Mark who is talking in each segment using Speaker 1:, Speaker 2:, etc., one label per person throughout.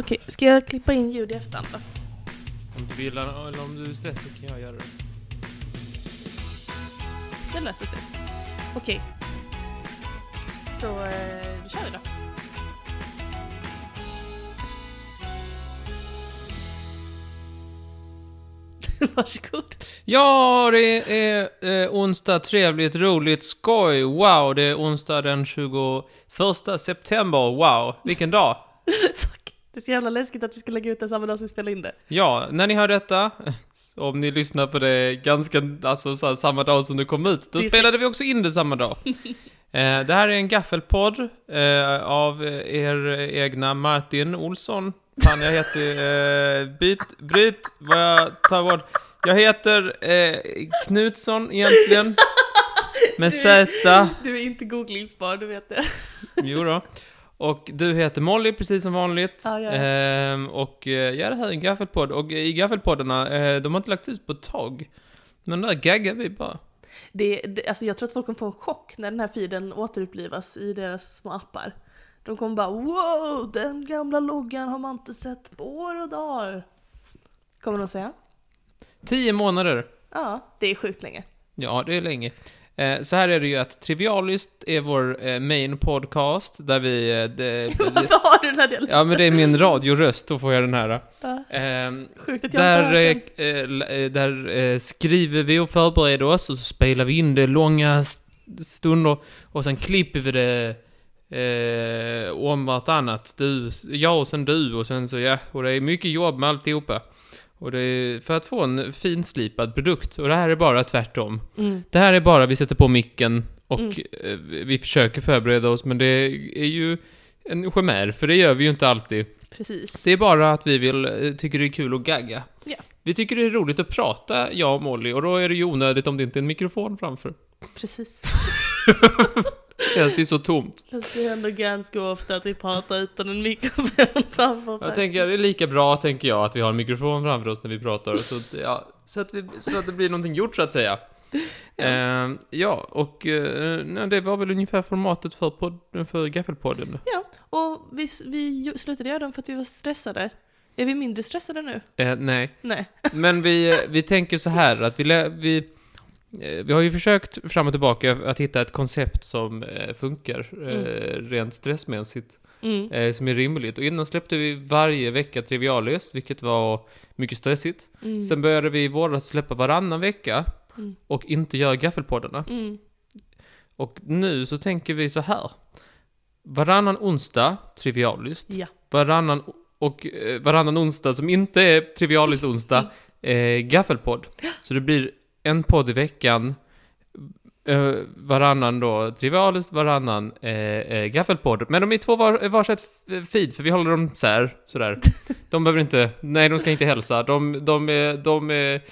Speaker 1: Okej, ska jag klippa in ljud i efterhand då?
Speaker 2: Om du vill eller om du är stressad kan jag göra det.
Speaker 1: Det löser sig. Okej. Då, eh, då kör vi då. Varsågod.
Speaker 2: Ja, det är eh, onsdag, trevligt, roligt, skoj, wow, det är onsdag den 21 september, wow, vilken dag!
Speaker 1: Fuck. Det är så jävla läskigt att vi ska lägga ut det samma dag som vi spelar in det.
Speaker 2: Ja, när ni hör detta, om ni lyssnar på det ganska, alltså så här, samma dag som det kom ut, då
Speaker 1: Det är-
Speaker 2: spelade vi också in det samma dag. Eh, det här är en gaffelpodd eh, av er egna Martin Olsson. Fan, jag heter... Eh, byt, bryt, vad jag tar bort. Jag heter eh, Knutsson egentligen. Med Z.
Speaker 1: Du är inte googlingsbar, du vet det.
Speaker 2: Jo då. Och du heter Molly, precis som vanligt.
Speaker 1: Ja, ja, ja.
Speaker 2: Ehm, och eh, ja, det här är en gaffelpodd. Och i gaffelpoddarna, eh, de har inte lagt ut på ett tag. Men där gaggar vi bara.
Speaker 1: det, det alltså jag tror att folk kommer få en chock när den här feeden återupplivas i deras små appar. De kommer bara wow, den gamla loggan har man inte sett på år och dagar. Kommer de säga.
Speaker 2: Tio månader.
Speaker 1: Ja, det är sjukt länge.
Speaker 2: Ja, det är länge. Eh, så här är det ju att Trivialist är vår eh, main podcast, där vi... Eh, det,
Speaker 1: Varför har du den här delen?
Speaker 2: ja, men det är min radioröst, då får jag den här.
Speaker 1: Ja.
Speaker 2: Ehm,
Speaker 1: Sjukt att jag inte
Speaker 2: Där,
Speaker 1: har hört
Speaker 2: eh,
Speaker 1: den.
Speaker 2: l- eh, där eh, skriver vi och förbereder oss och så spelar vi in det långa st- stunder och sen klipper vi det eh, om vartannat. Du, jag och sen du och sen så ja. Och det är mycket jobb med alltihopa. Och det är för att få en finslipad produkt. Och det här är bara tvärtom.
Speaker 1: Mm.
Speaker 2: Det här är bara vi sätter på micken och
Speaker 1: Mm.
Speaker 2: eh, vi försöker förbereda oss men det är ju en chimär för det gör vi ju inte alltid.
Speaker 1: Precis.
Speaker 2: Det är bara att vi vill, eh, tycker det är kul att gagga.
Speaker 1: Ja.
Speaker 2: Vi tycker det är roligt att prata, jag och Molly, och då är det ju onödigt om det inte är en mikrofon framför.
Speaker 1: Precis.
Speaker 2: Känns det ju så tomt.
Speaker 1: Fast det händer ganska ofta att vi pratar utan en mikrofon framför
Speaker 2: Jag tänker, det är lika bra, tänker jag, att vi har en mikrofon framför oss när vi pratar, så att, ja, så att, vi, så att det blir någonting gjort, så att säga.
Speaker 1: Ja.
Speaker 2: Ja, ja och eh, nej, det var väl ungefär formatet för, podden, för Gaffelpodden.
Speaker 1: Ja, och vi, vi ju- slutade göra den för att vi var stressade. Är vi mindre stressade nu?
Speaker 2: Eh, nej.
Speaker 1: Nej.
Speaker 2: Men vi, vi tänker så här att vi, lä- vi, eh, vi har ju försökt fram och tillbaka att hitta ett koncept som eh, funkar eh, rent stressmässigt,
Speaker 1: Mm.
Speaker 2: eh, som är rimligt. Och innan släppte vi varje vecka triviallöst, vilket var mycket stressigt.
Speaker 1: Mm.
Speaker 2: Sen började vi i våras släppa varannan vecka
Speaker 1: Mm.
Speaker 2: och inte göra gaffelpoddarna.
Speaker 1: Mm.
Speaker 2: Och nu så tänker vi så här. Varannan onsdag, triviallyst.
Speaker 1: Ja.
Speaker 2: Varannan, och, eh, varannan onsdag som inte är trivialist onsdag, eh, gaffelpodd. Så det blir en podd i veckan, eh, varannan då trivialist, varannan eh, eh, gaffelpodd. Men de är två var, varsitt f- eh, feed, för vi håller dem sär, sådär. De behöver inte, nej de ska inte hälsa, de, de, är, de, är,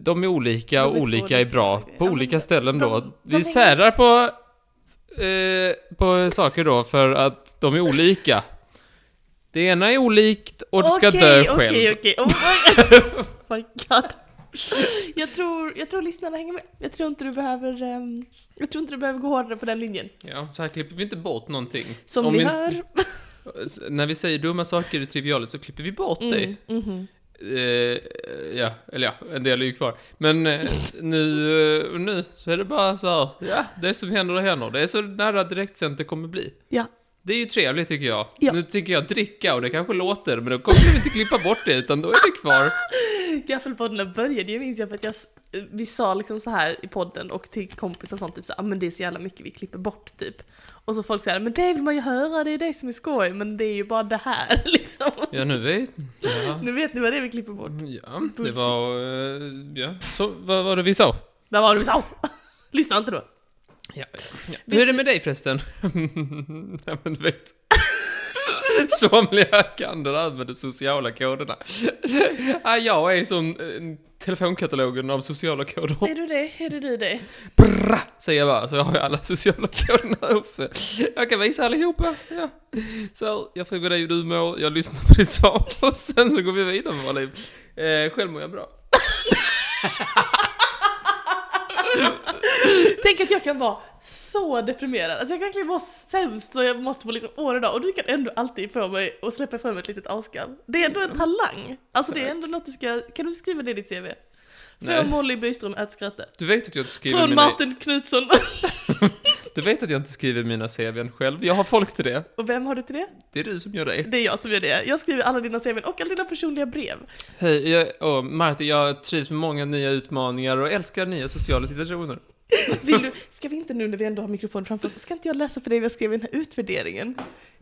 Speaker 2: de är olika
Speaker 1: De är
Speaker 2: och
Speaker 1: två
Speaker 2: olika är
Speaker 1: olika
Speaker 2: bra
Speaker 1: grejer.
Speaker 2: på
Speaker 1: Ja, men
Speaker 2: olika ställen då.
Speaker 1: de- de
Speaker 2: Vi
Speaker 1: hänger-
Speaker 2: särar på, eh, på saker då för att de är olika. Det ena är olikt och du ska
Speaker 1: Okej,
Speaker 2: dö själv.
Speaker 1: Okej, okej, Oh my, my god. Jag tror, jag tror lyssnarna hänger med. Jag tror inte du behöver, ehm, jag tror inte du behöver gå hårdare på den linjen.
Speaker 2: Ja, så här klipper vi inte bort någonting.
Speaker 1: Som
Speaker 2: Om
Speaker 1: vi
Speaker 2: vi-
Speaker 1: hör.
Speaker 2: S- När vi säger dumma saker i trivialet så klipper vi bort det.
Speaker 1: Mm, mhm.
Speaker 2: Eh, ja, eller ja, en del är ju kvar. Men eh, nu, eh, nu så är det bara så här, ja, det som händer det händer. Det är så nära direktsänt det kommer bli.
Speaker 1: Ja,
Speaker 2: Det är ju trevligt tycker jag.
Speaker 1: Ja.
Speaker 2: Nu tycker jag dricka och det kanske låter, men då kommer vi inte klippa bort det utan då är det kvar.
Speaker 1: gaffelpodden började ju minns jag för att jag, s- vi sa liksom så här i podden och till kompisar och sånt typ så, ah, men det är så jävla mycket vi klipper bort typ. Och så folk säger men det vill man ju höra, det är det som är skoj, men det är ju bara det här liksom.
Speaker 2: Ja, nu vet ja.
Speaker 1: Nu vet ni vad det är vi klipper bort.
Speaker 2: ja, det var... eh, Ja, så vad var det vi sa?
Speaker 1: Där var det vi sa. Lyssna inte då.
Speaker 2: Ja, ja. Hur är det med dig förresten? ja, men du vet. Somliga kan det där med de sociala koderna. ja, jag är som eh, telefonkatalogen av sociala koder.
Speaker 1: Är du det? Är det du det?
Speaker 2: Brrra, säger jag bara, så har jag alla sociala koderna uppe. Jag kan visa allihopa. Ja. Så här, jag frågar dig hur du mår, jag lyssnar på ditt svar och sen så går vi vidare med våra liv. Eh, själv mår jag bra.
Speaker 1: Tänk att jag kan vara så deprimerad. Alltså jag kan verkligen vara sämst och jag måste vara liksom år och dag. Och du kan ändå alltid få mig och släppa ifrån mig ett litet askan. Det är ändå en talang. Alltså det är ändå något du ska, kan du skriva det i ditt CV?
Speaker 2: Nej.
Speaker 1: Från Molly Byström, att skratta.
Speaker 2: Du vet att jag inte skriver,
Speaker 1: Från
Speaker 2: mina,
Speaker 1: Martin Knutsson.
Speaker 2: du vet att jag inte skriver mina CVn själv. Jag har folk till det.
Speaker 1: Och vem har du till det?
Speaker 2: Det är du som gör det.
Speaker 1: Det är jag som gör det. Jag skriver alla dina CVn och alla dina personliga brev.
Speaker 2: Hej, jag, åh, Martin, jag trivs med många nya utmaningar och älskar nya sociala situationer.
Speaker 1: Vill du, ska vi inte nu när vi ändå har mikrofonen framför oss, ska inte jag läsa för dig vad jag skrev i den här utvärderingen?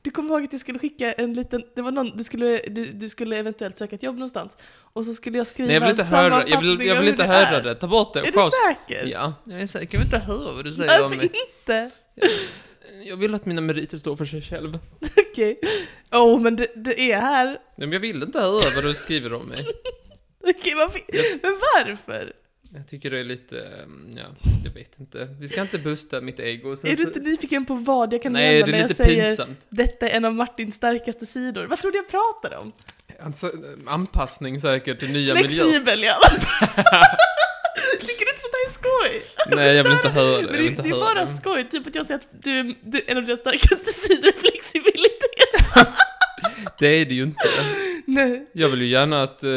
Speaker 1: Du kommer ihåg att jag skulle skicka en liten, det var någon, du skulle, du, du skulle eventuellt söka ett jobb någonstans. Och så skulle jag skriva
Speaker 2: Nej, jag vill inte
Speaker 1: en
Speaker 2: höra, jag vill,
Speaker 1: sammanfattning av
Speaker 2: jag vill
Speaker 1: hur
Speaker 2: inte höra
Speaker 1: är.
Speaker 2: det. Ta bort det.
Speaker 1: Är
Speaker 2: Paus.
Speaker 1: du säker?
Speaker 2: Ja, jag är säker. Jag vill inte höra vad du säger om
Speaker 1: Varför
Speaker 2: mig.
Speaker 1: inte?
Speaker 2: Jag vill att mina meriter står för sig själv.
Speaker 1: Okej. Åh, oh, men det, det är här.
Speaker 2: Nej, men jag vill inte höra vad du skriver om mig.
Speaker 1: Okej, varför? Men varför?
Speaker 2: Jag tycker det är lite, ehm, ja, jag vet inte. Vi ska inte busta mitt ego. Sen
Speaker 1: Är du
Speaker 2: så-
Speaker 1: inte nyfiken på vad jag kan
Speaker 2: Nej,
Speaker 1: hända
Speaker 2: det
Speaker 1: när
Speaker 2: är
Speaker 1: jag
Speaker 2: lite
Speaker 1: säger
Speaker 2: pinsamt.
Speaker 1: detta är en av Martins starkaste sidor? Vad tror du jag pratar om?
Speaker 2: Alltså, anpassning säkert till nya miljöer.
Speaker 1: Flexibel, ja. Tycker du inte sånt här är skoj?
Speaker 2: Nej, jag vill inte höra
Speaker 1: Men
Speaker 2: det. Jag
Speaker 1: det,
Speaker 2: vill inte
Speaker 1: det är
Speaker 2: höra
Speaker 1: bara
Speaker 2: det.
Speaker 1: skoj, typ att jag säger att du, du, en av dina starkaste sidor är flexibilitet.
Speaker 2: Det är det ju inte.
Speaker 1: Nej.
Speaker 2: Jag vill ju gärna att eh,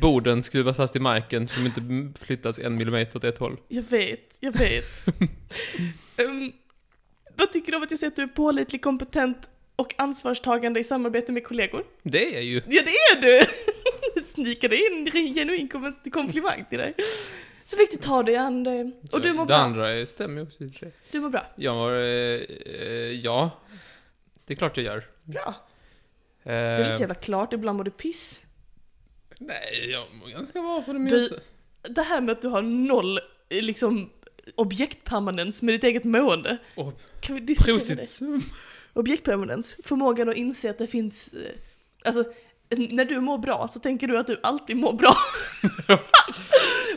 Speaker 2: borden skruvas fast i marken som inte m- flyttas en millimeter åt ett håll.
Speaker 1: Jag vet, jag vet. Ehm, vad tycker du om att jag säger att du är pålitlig, kompetent och ansvarstagande i samarbete med kollegor?
Speaker 2: Det är jag ju.
Speaker 1: Ja, det är du! Snikade in en genuin kom- komplimang till dig. Så fick du ta dig an det. Och du mår
Speaker 2: det
Speaker 1: bra.
Speaker 2: andra är- stämmer ju också i och för sig.
Speaker 1: Du mår bra.
Speaker 2: Jag mår, eh, eh, ja. Det är klart jag gör.
Speaker 1: Bra. Det
Speaker 2: Eh,
Speaker 1: är lite så jävla klart, ibland mår du piss.
Speaker 2: nej, jag mår ganska bra för det
Speaker 1: Du-
Speaker 2: mesta.
Speaker 1: Det här med att du har noll, eh, liksom, objektpermanens med ditt eget mående.
Speaker 2: Och
Speaker 1: Kan vi diskutera det?
Speaker 2: prosit.
Speaker 1: Objektpermanens, förmågan att inse att det finns... eh, Alltså, n- när du mår bra så tänker du att du alltid mår bra.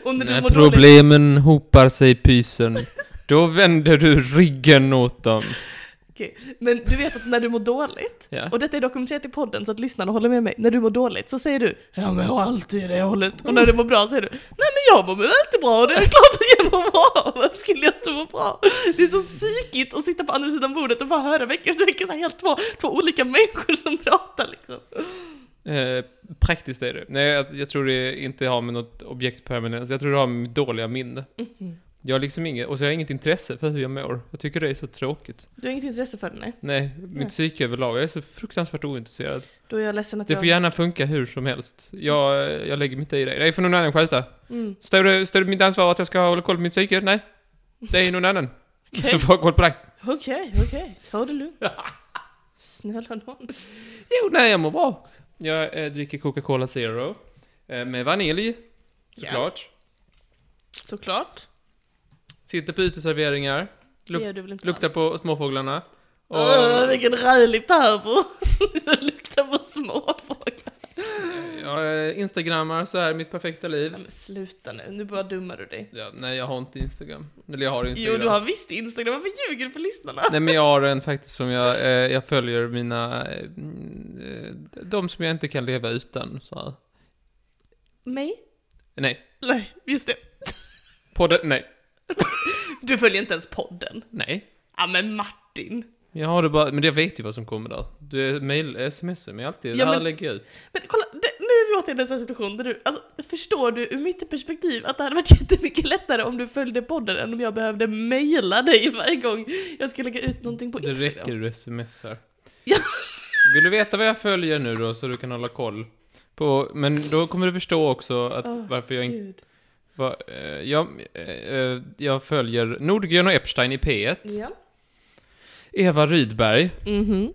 Speaker 1: Och när du
Speaker 2: När
Speaker 1: mår dåligt...
Speaker 2: problemen hopar sig i pysen, då vänder du ryggen åt dem.
Speaker 1: Okej. Men du vet att när du mår dåligt,
Speaker 2: Ja.
Speaker 1: och detta är dokumenterat i podden så att lyssnarna håller med mig, när du mår dåligt så säger du ”Jag mår alltid i det hållet” och när du mår bra säger du ”Nej men jag mår väl inte bra och det är klart att jag mår bra, varför skulle jag inte må bra?” Det är så psykiskt att sitta på andra sidan bordet och bara höra vecka efter vecka så här helt två, två olika människor som pratar liksom.
Speaker 2: Eh, praktiskt är det. Nej, jag, jag tror det inte har med något objektpermanens. Jag tror det har med dåliga minne. Jag har liksom inget, och så har jag inget intresse för hur jag mår. Jag tycker det är så tråkigt.
Speaker 1: Du har inget intresse för det, nej?
Speaker 2: Nej, mitt
Speaker 1: Nej.
Speaker 2: psyke överlag, jag är så fruktansvärt ointresserad.
Speaker 1: Då är jag ledsen att
Speaker 2: Det
Speaker 1: jag...
Speaker 2: får gärna funka hur som helst. Jag, jag lägger mig inte i det. Det får någon annan sköta.
Speaker 1: Mm.
Speaker 2: Står det, står det mitt ansvar att jag ska hålla koll på mitt psyke? Nej. Det är någon annan. Så får jag koll på dig.
Speaker 1: Okej, okej, ta det lugnt. Snälla nån.
Speaker 2: Jo, nej, jag mår bra. Jag eh, dricker Coca-Cola Zero. Eh, med vanilj, såklart.
Speaker 1: Såklart.
Speaker 2: Sitter på uteserveringar.
Speaker 1: Det
Speaker 2: Luk-
Speaker 1: gör du väl inte
Speaker 2: Luktar
Speaker 1: alls?
Speaker 2: på småfåglarna. Och,
Speaker 1: Åh, vilken rälig pervo! Det luktar på småfåglar.
Speaker 2: jag eh, instagrammar så här mitt perfekta liv.
Speaker 1: Nej men sluta nu, nu bara dummar du dig.
Speaker 2: Ja, nej, jag har inte Instagram. Eller jag har Instagram.
Speaker 1: Jo, du har visst Instagram, varför ljuger du för lyssnarna?
Speaker 2: Nej, men jag har en faktiskt som jag, eh, jag följer mina... Eh, mm, eh, de som jag inte kan leva utan. Så här.
Speaker 1: Mig?
Speaker 2: Nej.
Speaker 1: Nej, just det.
Speaker 2: Podden? Nej.
Speaker 1: Du följer inte ens podden.
Speaker 2: Nej.
Speaker 1: Ja men Martin.
Speaker 2: Jag har det bara, men jag vet ju vad som kommer där. Du är mail, sms men jag alltid,
Speaker 1: Ja,
Speaker 2: det här
Speaker 1: men-
Speaker 2: lägger jag ut.
Speaker 1: Men kolla, det, nu är vi återigen i en sån här situation där du, alltså, förstår du ur mitt perspektiv att det hade varit jättemycket lättare om du följde podden än om jag behövde mejla dig varje gång jag ska lägga ut någonting på
Speaker 2: Det
Speaker 1: Instagram.
Speaker 2: räcker du smsar.
Speaker 1: Ja.
Speaker 2: Vill du veta vad jag följer nu då så du kan hålla koll? På, men då kommer du förstå också att
Speaker 1: Åh,
Speaker 2: varför jag inte...
Speaker 1: Gud.
Speaker 2: Va, eh, jag, eh, eh, jag följer Nordgren och Epstein i P1.
Speaker 1: Ja.
Speaker 2: Eva Rydberg.
Speaker 1: Mhm.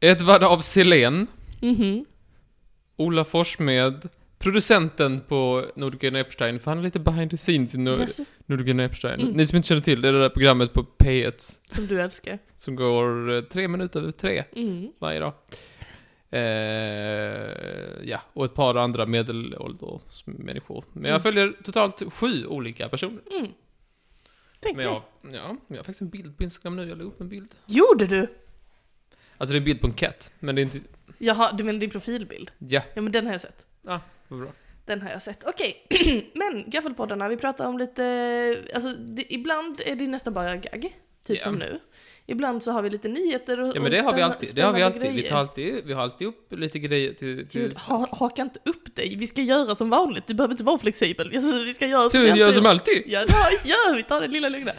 Speaker 2: Edvard af Sillén.
Speaker 1: Mhm.
Speaker 2: Ola Forssmed. Producenten på Nordgren och Epstein. För han är lite behind the scenes i Nord-
Speaker 1: Jaså,
Speaker 2: Nordgren och Epstein.
Speaker 1: Mm.
Speaker 2: Ni som inte känner till det, det är det där programmet på P1.
Speaker 1: som du älskar.
Speaker 2: Som går eh, tre minuter över tre.
Speaker 1: Mm.
Speaker 2: varje dag. Eh, ja, och ett par andra medelålders människor. Men jag
Speaker 1: Mm.
Speaker 2: följer totalt sju olika personer.
Speaker 1: Mm. Tänk
Speaker 2: Men
Speaker 1: dig.
Speaker 2: jag, ja, jag har faktiskt en bild på Instagram nu, jag la upp en bild.
Speaker 1: Gjorde du?
Speaker 2: Alltså det är en bild på en katt, men det är inte...
Speaker 1: Jaha, du menar din profilbild?
Speaker 2: Ja,
Speaker 1: Ja men den har jag sett.
Speaker 2: vad bra.
Speaker 1: Den har jag sett. Okej, men Gaffelpoddarna, vi pratar om lite, alltså det, ibland är det nästan bara gagg, typ
Speaker 2: Ja.
Speaker 1: som nu. Ibland så har vi lite nyheter och
Speaker 2: Ja men det har vi
Speaker 1: spänna-
Speaker 2: alltid, det har vi
Speaker 1: spännande
Speaker 2: alltid. Vi,
Speaker 1: grejer.
Speaker 2: tar alltid. vi har alltid upp lite grejer till... till...
Speaker 1: Gud, ha, haka inte upp dig. Vi ska göra som vanligt. Du behöver inte vara flexibel. Alltså, vi ska göra som
Speaker 2: Du
Speaker 1: vi
Speaker 2: gör
Speaker 1: alltid
Speaker 2: som
Speaker 1: gör.
Speaker 2: alltid!
Speaker 1: Ja, ja, gör vi. tar det lilla lugna.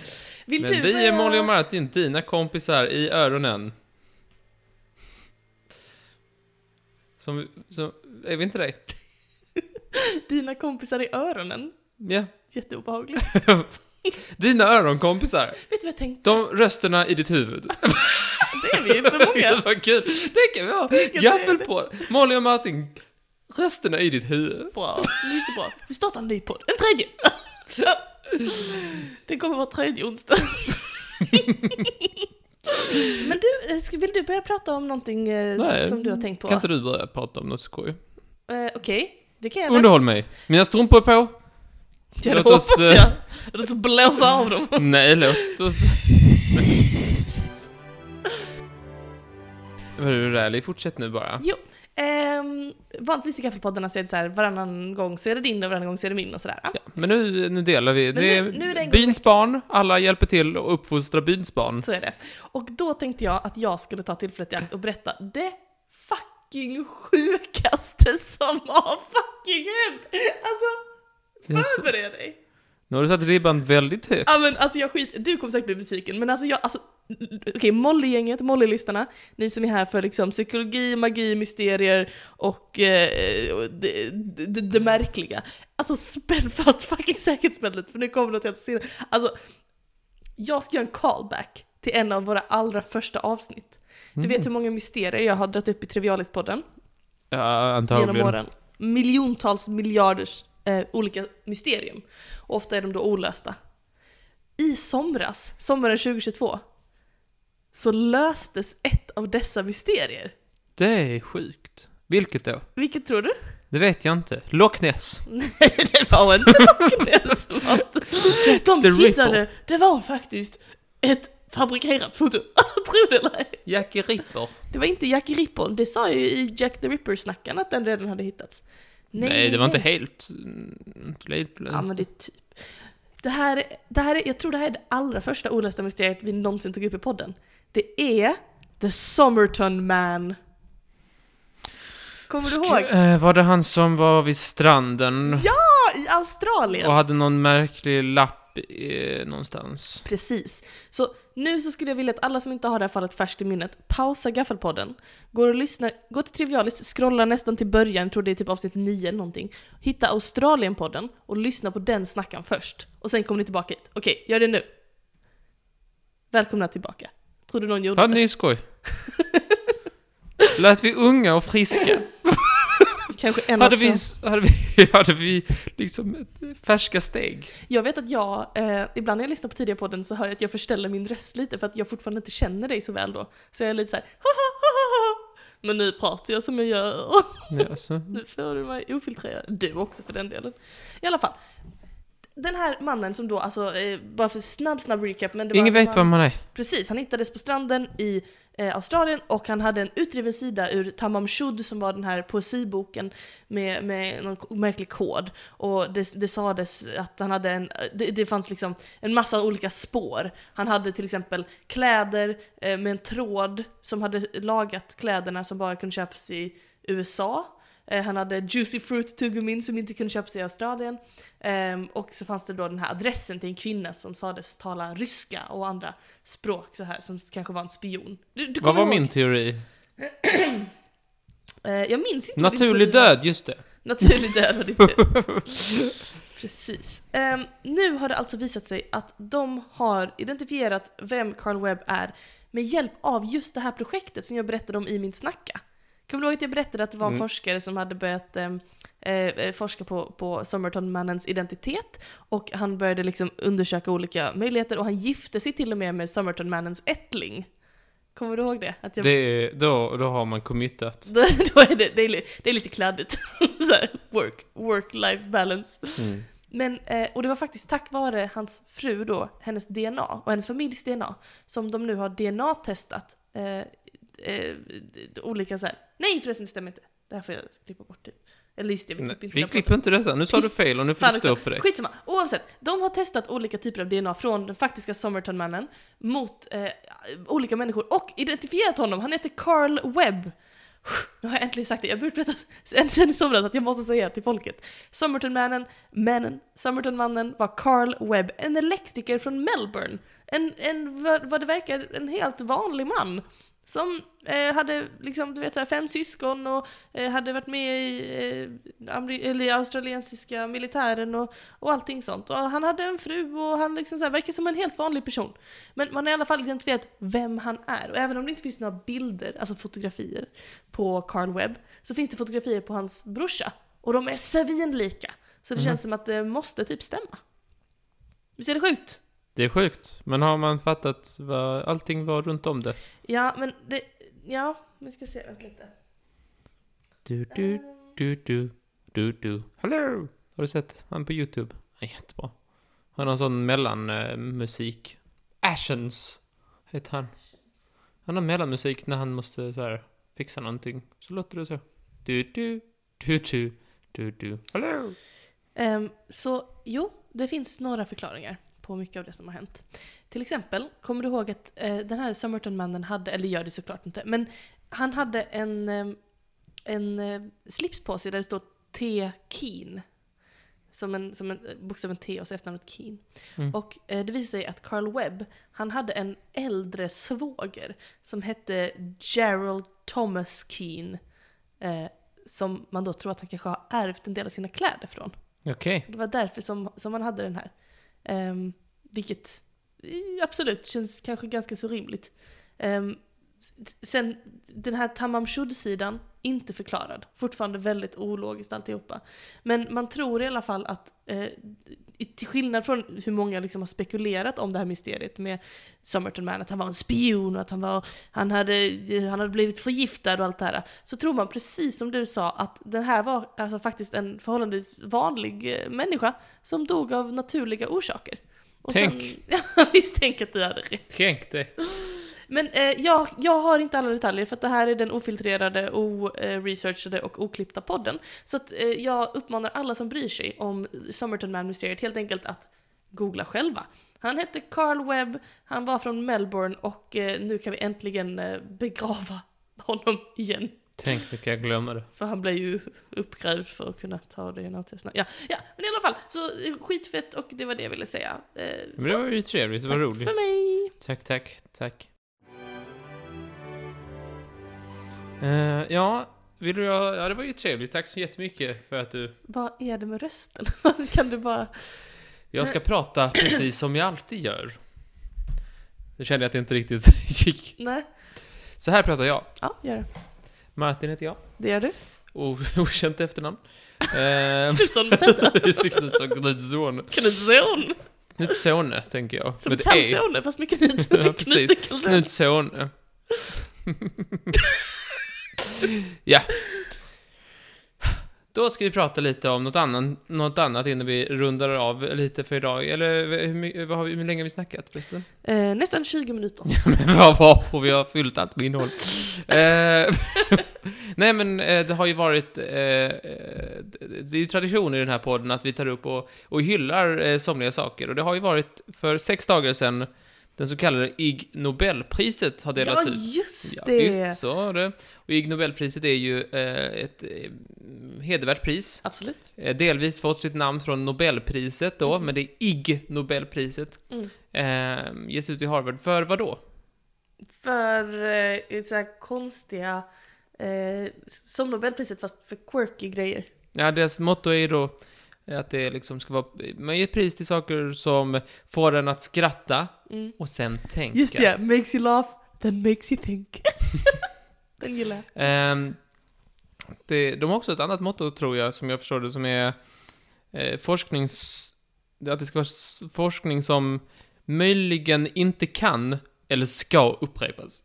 Speaker 1: Vill
Speaker 2: Men
Speaker 1: du
Speaker 2: vi är
Speaker 1: börja?
Speaker 2: Molly och Martin, dina kompisar i öronen. Som, som är vi inte dig?
Speaker 1: eh, Dina kompisar i öronen.
Speaker 2: Ja.
Speaker 1: Jätteobehagligt.
Speaker 2: Dina öronkompisar.
Speaker 1: Vet du vad jag tänkte?
Speaker 2: De rösterna i ditt huvud.
Speaker 1: Det är vi för många.
Speaker 2: Gud vad kul! Det kan vi ha!
Speaker 1: kan
Speaker 2: Gaffel
Speaker 1: vi-
Speaker 2: på! Molly och Martin, rösterna i ditt huvud.
Speaker 1: Bra, mycket bra. Vi startar en ny podd. En tredje! Den kommer vara tredje onsdag. Men du, eh, ska- vill du börja prata om någonting eh,
Speaker 2: Nej,
Speaker 1: som du har tänkt på?
Speaker 2: Kan inte du börja prata om något skoj?
Speaker 1: Eh, Okej, det kan jag väl.
Speaker 2: Underhåll mig! Mina strumpor är på!
Speaker 1: Ja, det
Speaker 2: Låt oss,
Speaker 1: hoppas
Speaker 2: eh,
Speaker 1: jag. Låt oss blåsa av dem.
Speaker 2: Nej, låt oss... Men du Riley, fortsätt nu bara.
Speaker 1: Ehm, vanligtvis i Kaffepoddarna så är det så här, varannan gång så är det din och varannan gång så är det min och sådär.
Speaker 2: Ja, men nu, nu delar vi. Det
Speaker 1: nu-
Speaker 2: är
Speaker 1: nu är det en gång
Speaker 2: byns barn, alla hjälper till att uppfostra byns barn.
Speaker 1: Så är det. Och då tänkte jag att jag skulle ta tillfället i akt och berätta det fucking sjukaste som har fucking hänt!
Speaker 2: Det är
Speaker 1: Alltså,
Speaker 2: så-
Speaker 1: förbered dig!
Speaker 2: Nu har du satt ribban väldigt högt.
Speaker 1: Ja men alltså jag skit, du kommer säkert bli besviken, men alltså jag, alltså, okej Molly-gänget, Molly-lyssnarna, ni som är här för liksom psykologi, magi, mysterier och eh, och det, det, det märkliga. Alltså spänn fast fucking säkerhetsbältet för nu kommer något helt sinnessjukt. Alltså, jag ska göra en callback till en av våra allra första avsnitt. Du vet hur många mysterier jag har dragit upp i Trivialist-podden
Speaker 2: Ja,
Speaker 1: genom
Speaker 2: antagligen.
Speaker 1: åren. Miljontals miljarders eh, olika mysterium. Och ofta är de då olösta. I somras, sommaren 2022, så löstes ett av dessa mysterier.
Speaker 2: Det är sjukt. Vilket då?
Speaker 1: Vilket tror du?
Speaker 2: Det vet jag inte. Loch Ness.
Speaker 1: Nej, det var inte Loch
Speaker 2: The
Speaker 1: De
Speaker 2: Ripple.
Speaker 1: hittade, det var faktiskt ett fabrikerat foto. tror du eller ej?
Speaker 2: Jackie Ripper.
Speaker 1: Det var inte Jack Rippon, det sa ju i Jack the Ripper-snackaren att den redan hade hittats.
Speaker 2: Nej, det var inte helt... mm, Inte helt
Speaker 1: Ja men det är typ. Det här, det här är, jag tror det här är det allra första olösta mysteriet vi någonsin tog upp i podden. Det är The Somerton Man. Kommer du ihåg?
Speaker 2: Eh, Var det han som var vid stranden
Speaker 1: Ja, i Australien!
Speaker 2: och hade någon märklig lapp eh, någonstans?
Speaker 1: Precis. Så nu så skulle jag vilja att alla som inte har det här fallet färskt i minnet, pausa Gaffelpodden, går och lyssnar, går till Trivialist, scrollar nästan till början, jag tror det är typ avsnitt 9 eller någonting, hitta Australienpodden och lyssna på den snackan först. Och sen kommer ni tillbaka hit. Okej, gör det nu. Välkomna tillbaka. Tror du någon gjorde
Speaker 2: Hade ni skoj? Lät vi unga och friska?
Speaker 1: det? Kanske en
Speaker 2: Hade
Speaker 1: av två.
Speaker 2: vi, hade vi, hade vi liksom ett färska steg?
Speaker 1: Jag vet att jag, eh, ibland när jag lyssnar på tidigare podden så hör jag att jag förställer min röst lite för att jag fortfarande inte känner dig så väl då. Så jag är lite så här, men nu pratar jag som jag gör.
Speaker 2: Ja, så.
Speaker 1: Nu får du mig ofiltrerad. Du också för den delen. I alla fall. Den här mannen som då, alltså, eh, bara för snabb, snabb recap. Men det
Speaker 2: Ingen
Speaker 1: var,
Speaker 2: vet vem man är.
Speaker 1: Precis, han hittades på stranden i eh, Australien och han hade en utriven sida ur Tamam Shud som var den här poesiboken med, med någon ko- märklig kod. Och det, det sades att han hade en, det, det fanns liksom en massa olika spår. Han hade till exempel kläder eh, med en tråd som hade lagat kläderna som bara kunde köpas i USA. Eh, Han hade Juicy Fruit tuggummin som inte kunde köpas i Australien. Ehm, och så fanns det då den här adressen till en kvinna som sades tala ryska och andra språk så här som kanske var en spion. Du, du
Speaker 2: Vad
Speaker 1: kommer
Speaker 2: var
Speaker 1: ihåg?
Speaker 2: min teori?
Speaker 1: Eh, jag minns inte. vad din
Speaker 2: Naturlig
Speaker 1: teori var.
Speaker 2: död, just det.
Speaker 1: Naturlig död var ditt teori. Precis. Ehm, nu har det alltså visat sig att de har identifierat vem Carl Webb är med hjälp av just det här projektet som jag berättade om i min snacka. Kommer du ihåg att jag berättade att det var en
Speaker 2: Mm.
Speaker 1: forskare som hade börjat ehm, eh, eh, forska på, på Somerton-mannens identitet och han började liksom undersöka olika möjligheter och han gifte sig till och med med Somerton-mannens ättling. Kommer du ihåg det? Att jag
Speaker 2: det är, då, då har man committat.
Speaker 1: då då är det, det, är, li- det är lite kladdigt. Så här, work, work-life balance.
Speaker 2: Mm.
Speaker 1: Men, eh, och det var faktiskt tack vare hans fru då, hennes DNA och hennes familjs DNA, som de nu har DNA-testat eh, eh, olika så här. Nej förresten, det stämmer inte. Det här får jag klippa bort typ. Eller just det, vi
Speaker 2: Nej,
Speaker 1: klipper
Speaker 2: vi
Speaker 1: inte
Speaker 2: klipper inte detta. Nu sa du
Speaker 1: Piss.
Speaker 2: fel och nu får
Speaker 1: Fan
Speaker 2: du stå
Speaker 1: också.
Speaker 2: för det.
Speaker 1: Skitsamma, oavsett. De har testat olika typer av DNA från den faktiska Somerton-mannen mot eh, olika människor och identifierat honom. Han heter Carl Webb. Nu har jag äntligen sagt det, jag har berätta sen, sen i somras att jag måste säga till folket. Somerton-mannen, männen, Somerton-mannen var Carl Webb, en elektriker från Melbourne. En, en vad, vad det verkar, en helt vanlig man. Som eh, hade liksom, du vet, så här, fem syskon och eh, hade varit med i eh, ameri- eller australiensiska militären och, och allting sånt. Och han hade en fru och han liksom så här, verkar som en helt vanlig person. Men man har i alla fall identifierat vem han är. Och även om det inte finns några bilder, alltså fotografier, på Carl Webb så finns det fotografier på hans brorsa. Och de är svinlika. Så det
Speaker 2: Mhm.
Speaker 1: känns som att det måste typ stämma. Visst är det sjukt?
Speaker 2: Det är sjukt. Men har man fattat vad allting var runt om det?
Speaker 1: Ja, men det... Ja, vi ska se. Vänta lite.
Speaker 2: Du, du, du, du, du, du. Hello! Har du sett han på YouTube? Han är jättebra. Han har en sån mellanmusik. Ashens heter han. Han har mellanmusik när han måste så här, fixa någonting. Så låter det så. Du, du, du, du, du, du. Hello!
Speaker 1: Ehm, så jo, det finns några förklaringar på mycket av det som har hänt. Till exempel, kommer du ihåg att eh, den här Summerton-mannen hade, eller gör det såklart inte, men han hade en, eh, en eh, slips på sig där det står T. Keen. Som, en, som en, eh, bokstaven T och så efternamnet Keen.
Speaker 2: Mm.
Speaker 1: Och eh, det visade sig att Carl Webb, han hade en äldre svåger som hette Gerald Thomas Keen. Eh, som man då tror att han kanske har ärvt en del av sina kläder från.
Speaker 2: Okej.
Speaker 1: Det var därför som, som man hade den här. Ehm, vilket eh, absolut känns kanske ganska så rimligt. Ehm, s- sen den här Tamam Shud-sidan, inte förklarad. Fortfarande väldigt ologiskt alltihopa. Men man tror i alla fall att, eh, i- till skillnad från hur många liksom har spekulerat om det här mysteriet med Somerton Man, att han var en spion och att han, var, han, hade, han hade blivit förgiftad och allt det här. Så tror man precis som du sa att den här var alltså, faktiskt en förhållandevis vanlig eh, människa som dog av naturliga orsaker. Och
Speaker 2: Tänk.
Speaker 1: Sen, ja, visst, tänk att du hade rätt.
Speaker 2: Tänk dig.
Speaker 1: Men eh, jag, jag har inte alla detaljer för att det här är den ofiltrerade, oresearchade och oklippta podden. Så att, eh, jag uppmanar alla som bryr sig om Somerton Man-mysteriet helt enkelt att googla själva. Han hette Carl Webb, han var från Melbourne och eh, nu kan vi äntligen eh, begrava honom igen.
Speaker 2: Tänk vilka jag glömmer det.
Speaker 1: För han blev ju uppgrävd för att kunna ta det ena testerna. Ja, ja, men i alla fall, så eh, skitfett och det var det jag ville säga. Eh,
Speaker 2: Men det var ju trevligt. Det var
Speaker 1: tack
Speaker 2: roligt.
Speaker 1: för mig!
Speaker 2: Tack, tack, tack. Eh, ja, vill du ha, ja, det var ju trevligt. Tack så jättemycket för att du...
Speaker 1: Vad är det med rösten? kan du bara...
Speaker 2: Jag ska prata precis som jag alltid gör. Nu kände jag att det inte riktigt gick.
Speaker 1: Nej.
Speaker 2: Så här pratar jag.
Speaker 1: Ja, gör det.
Speaker 2: Martin heter jag.
Speaker 1: Det gör du.
Speaker 2: O- Okänt efternamn. Eh,
Speaker 1: Knutsson Säter.
Speaker 2: Just det, Knutsson Knutsson.
Speaker 1: Knutsson!
Speaker 2: Knutsone, tänker jag.
Speaker 1: Som
Speaker 2: Med ett E.
Speaker 1: kalsoner fast med knut.
Speaker 2: Ja, precis.
Speaker 1: Knuten kalsoner.
Speaker 2: Knutsone. ja. Då ska vi prata lite om något annat, något annat innan vi rundar av lite för idag. Eller hur, my- vad har vi, hur länge har vi snackat förresten?
Speaker 1: Eh, nästan 20 minuter.
Speaker 2: Men vad var och vi har fyllt allt med innehåll. Eh, Nej men eh, det har ju varit, eh, eh, det det är ju tradition i den här podden att vi tar upp och, och hyllar eh, somliga saker. Och det har ju varit för sex dagar sedan den så kallade Ig Nobelpriset har delats
Speaker 1: typ- Ja,
Speaker 2: ut.
Speaker 1: just
Speaker 2: Ja,
Speaker 1: det.
Speaker 2: just så är det. Och Ig Nobelpriset är ju eh, ett eh, hedervärt pris.
Speaker 1: Absolut.
Speaker 2: Eh, Delvis fått sitt namn från Nobelpriset då,
Speaker 1: Mhm.
Speaker 2: men det är Ig Nobelpriset.
Speaker 1: Mm.
Speaker 2: Eh, ges ut i Harvard för vad då?
Speaker 1: För eh, så här konstiga, eh, som Nobelpriset fast för quirky grejer.
Speaker 2: Ja, deras motto är ju då att det liksom ska vara... Man ger pris till saker som får en att skratta
Speaker 1: Mm.
Speaker 2: och sen tänka.
Speaker 1: Just det, ja. makes you laugh, then makes you think. Den gillar jag.
Speaker 2: Ehm, det, de har också ett annat motto, tror jag, som jag förstår det, som är eh, forsknings... Att det ska vara s- forskning som möjligen inte kan eller ska upprepas.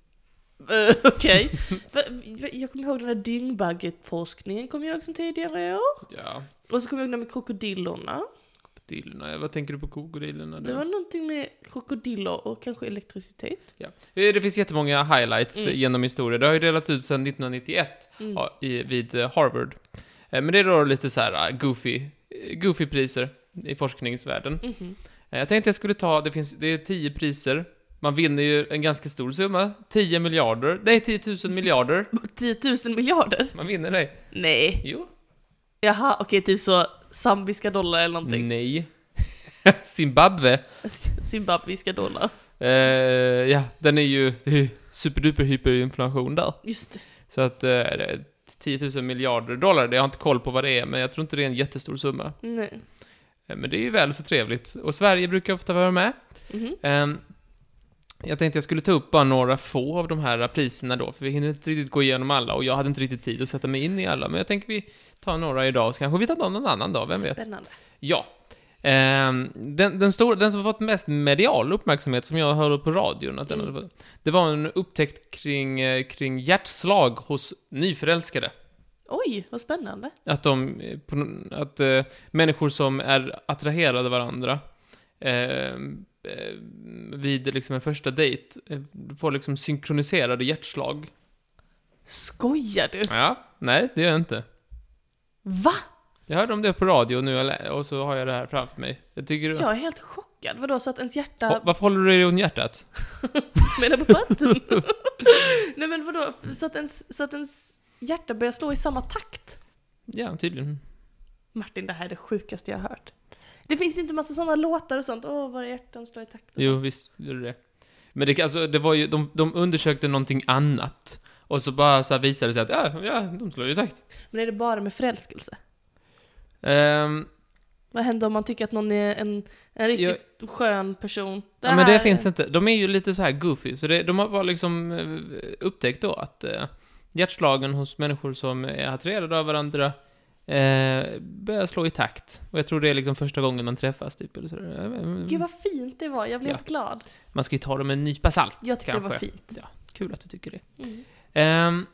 Speaker 1: Eh, Okej. Va- va- jag kommer ihåg den där dyngbaggeforskningen, kommer jag ihåg sen tidigare år.
Speaker 2: Ja,
Speaker 1: Och så kommer jag ihåg den med krokodillerna.
Speaker 2: krokodilerna. Vad tänker du på krokodilerna? då?
Speaker 1: Det var någonting med krokodiller och kanske elektricitet.
Speaker 2: Ja. Eh, Det finns jättemånga highlights
Speaker 1: Mm.
Speaker 2: genom historien. Det har ju delats ut sedan 1991
Speaker 1: Mm.
Speaker 2: ja, i, vid eh, Harvard. Eh, Men det är då lite så här eh, goofy, eh, goofy priser i forskningsvärlden.
Speaker 1: Mhm.
Speaker 2: Eh, Jag tänkte jag skulle ta, det finns, det är 10 priser. Man vinner ju en ganska stor summa, 10 miljarder, nej 10 000 miljarder.
Speaker 1: 10 000 miljarder?
Speaker 2: Man vinner det.
Speaker 1: Nej.
Speaker 2: Jo.
Speaker 1: Jaha, okej, typ så zambiska dollar eller någonting.
Speaker 2: Nej. Zimbabwe.
Speaker 1: Zimbabwiska dollar.
Speaker 2: Eh, ja, den är ju, det är ju superduper hyperinflation där.
Speaker 1: Just det.
Speaker 2: Så att eh, det är 10 000 miljarder dollar, det har jag inte koll på vad det är, men jag tror inte det är en jättestor summa.
Speaker 1: Nej.
Speaker 2: Eh, Men det är ju väl så trevligt. Och Sverige brukar ofta vara med.
Speaker 1: Mhm.
Speaker 2: Ehm, jag tänkte jag skulle ta upp bara några få av de här priserna då, för vi hinner inte riktigt gå igenom alla och jag hade inte riktigt tid att sätta mig in i alla, men jag tänker vi tar några idag och så kanske vi tar någon annan dag, vem vet?
Speaker 1: Spännande.
Speaker 2: Ja. Ehm, den, den, stora, den som har fått mest medial uppmärksamhet, som jag hörde på radion, att den
Speaker 1: Mm.
Speaker 2: hade fått, det var en upptäckt kring, eh, kring hjärtslag hos nyförälskade.
Speaker 1: Oj, vad spännande.
Speaker 2: Att, de, eh, på, någon- att eh, människor som är attraherade av varandra eh, eh, vid liksom en första dejt eh, får liksom synkroniserade hjärtslag.
Speaker 1: Skojar du?
Speaker 2: Ja, nej, det gör jag inte.
Speaker 1: Va?
Speaker 2: Jag hörde om det på radio nu eller- och så har jag det här framför mig. Jag tycker,
Speaker 1: Jag är helt chockad. Vadå, så att ens hjärta
Speaker 2: Ho- Varför håller du dig om hjärtat?
Speaker 1: menar på vatten? Nej men vadå, så att, ens, så att ens hjärta börjar slå i samma takt?
Speaker 2: Ja, tydligen.
Speaker 1: Martin, det här är det sjukaste jag har hört. Det finns inte massa sådana låtar och sånt. Åh, våra hjärtan slår i takt. och
Speaker 2: Jo, visst gjorde det. Men det, alltså, det var ju, de, de undersökte någonting annat. Och så bara så här visade det sig att, ja, ja de slår ju i takt.
Speaker 1: sånt. Men är det bara med förälskelse?
Speaker 2: Ehm,
Speaker 1: Vad händer om man tycker att någon är en, en riktigt skön person?
Speaker 2: ja, men det
Speaker 1: här-
Speaker 2: finns inte. De är ju lite så här goofy, så det, de har bara liksom eh, upptäckt då att eh, hjärtslagen hos människor som är attraherade av varandra eh, börjar slå i takt. Och jag tror det är liksom första gången man träffas, typ. Eller så. där.
Speaker 1: Gud vad fint det var, jag blev
Speaker 2: Ja.
Speaker 1: helt glad.
Speaker 2: Man ska ju ta dem med en nypa salt,
Speaker 1: Jag tyckte
Speaker 2: kanske.
Speaker 1: det var fint.
Speaker 2: Kul att du tycker det.
Speaker 1: Mm.
Speaker 2: Ehm,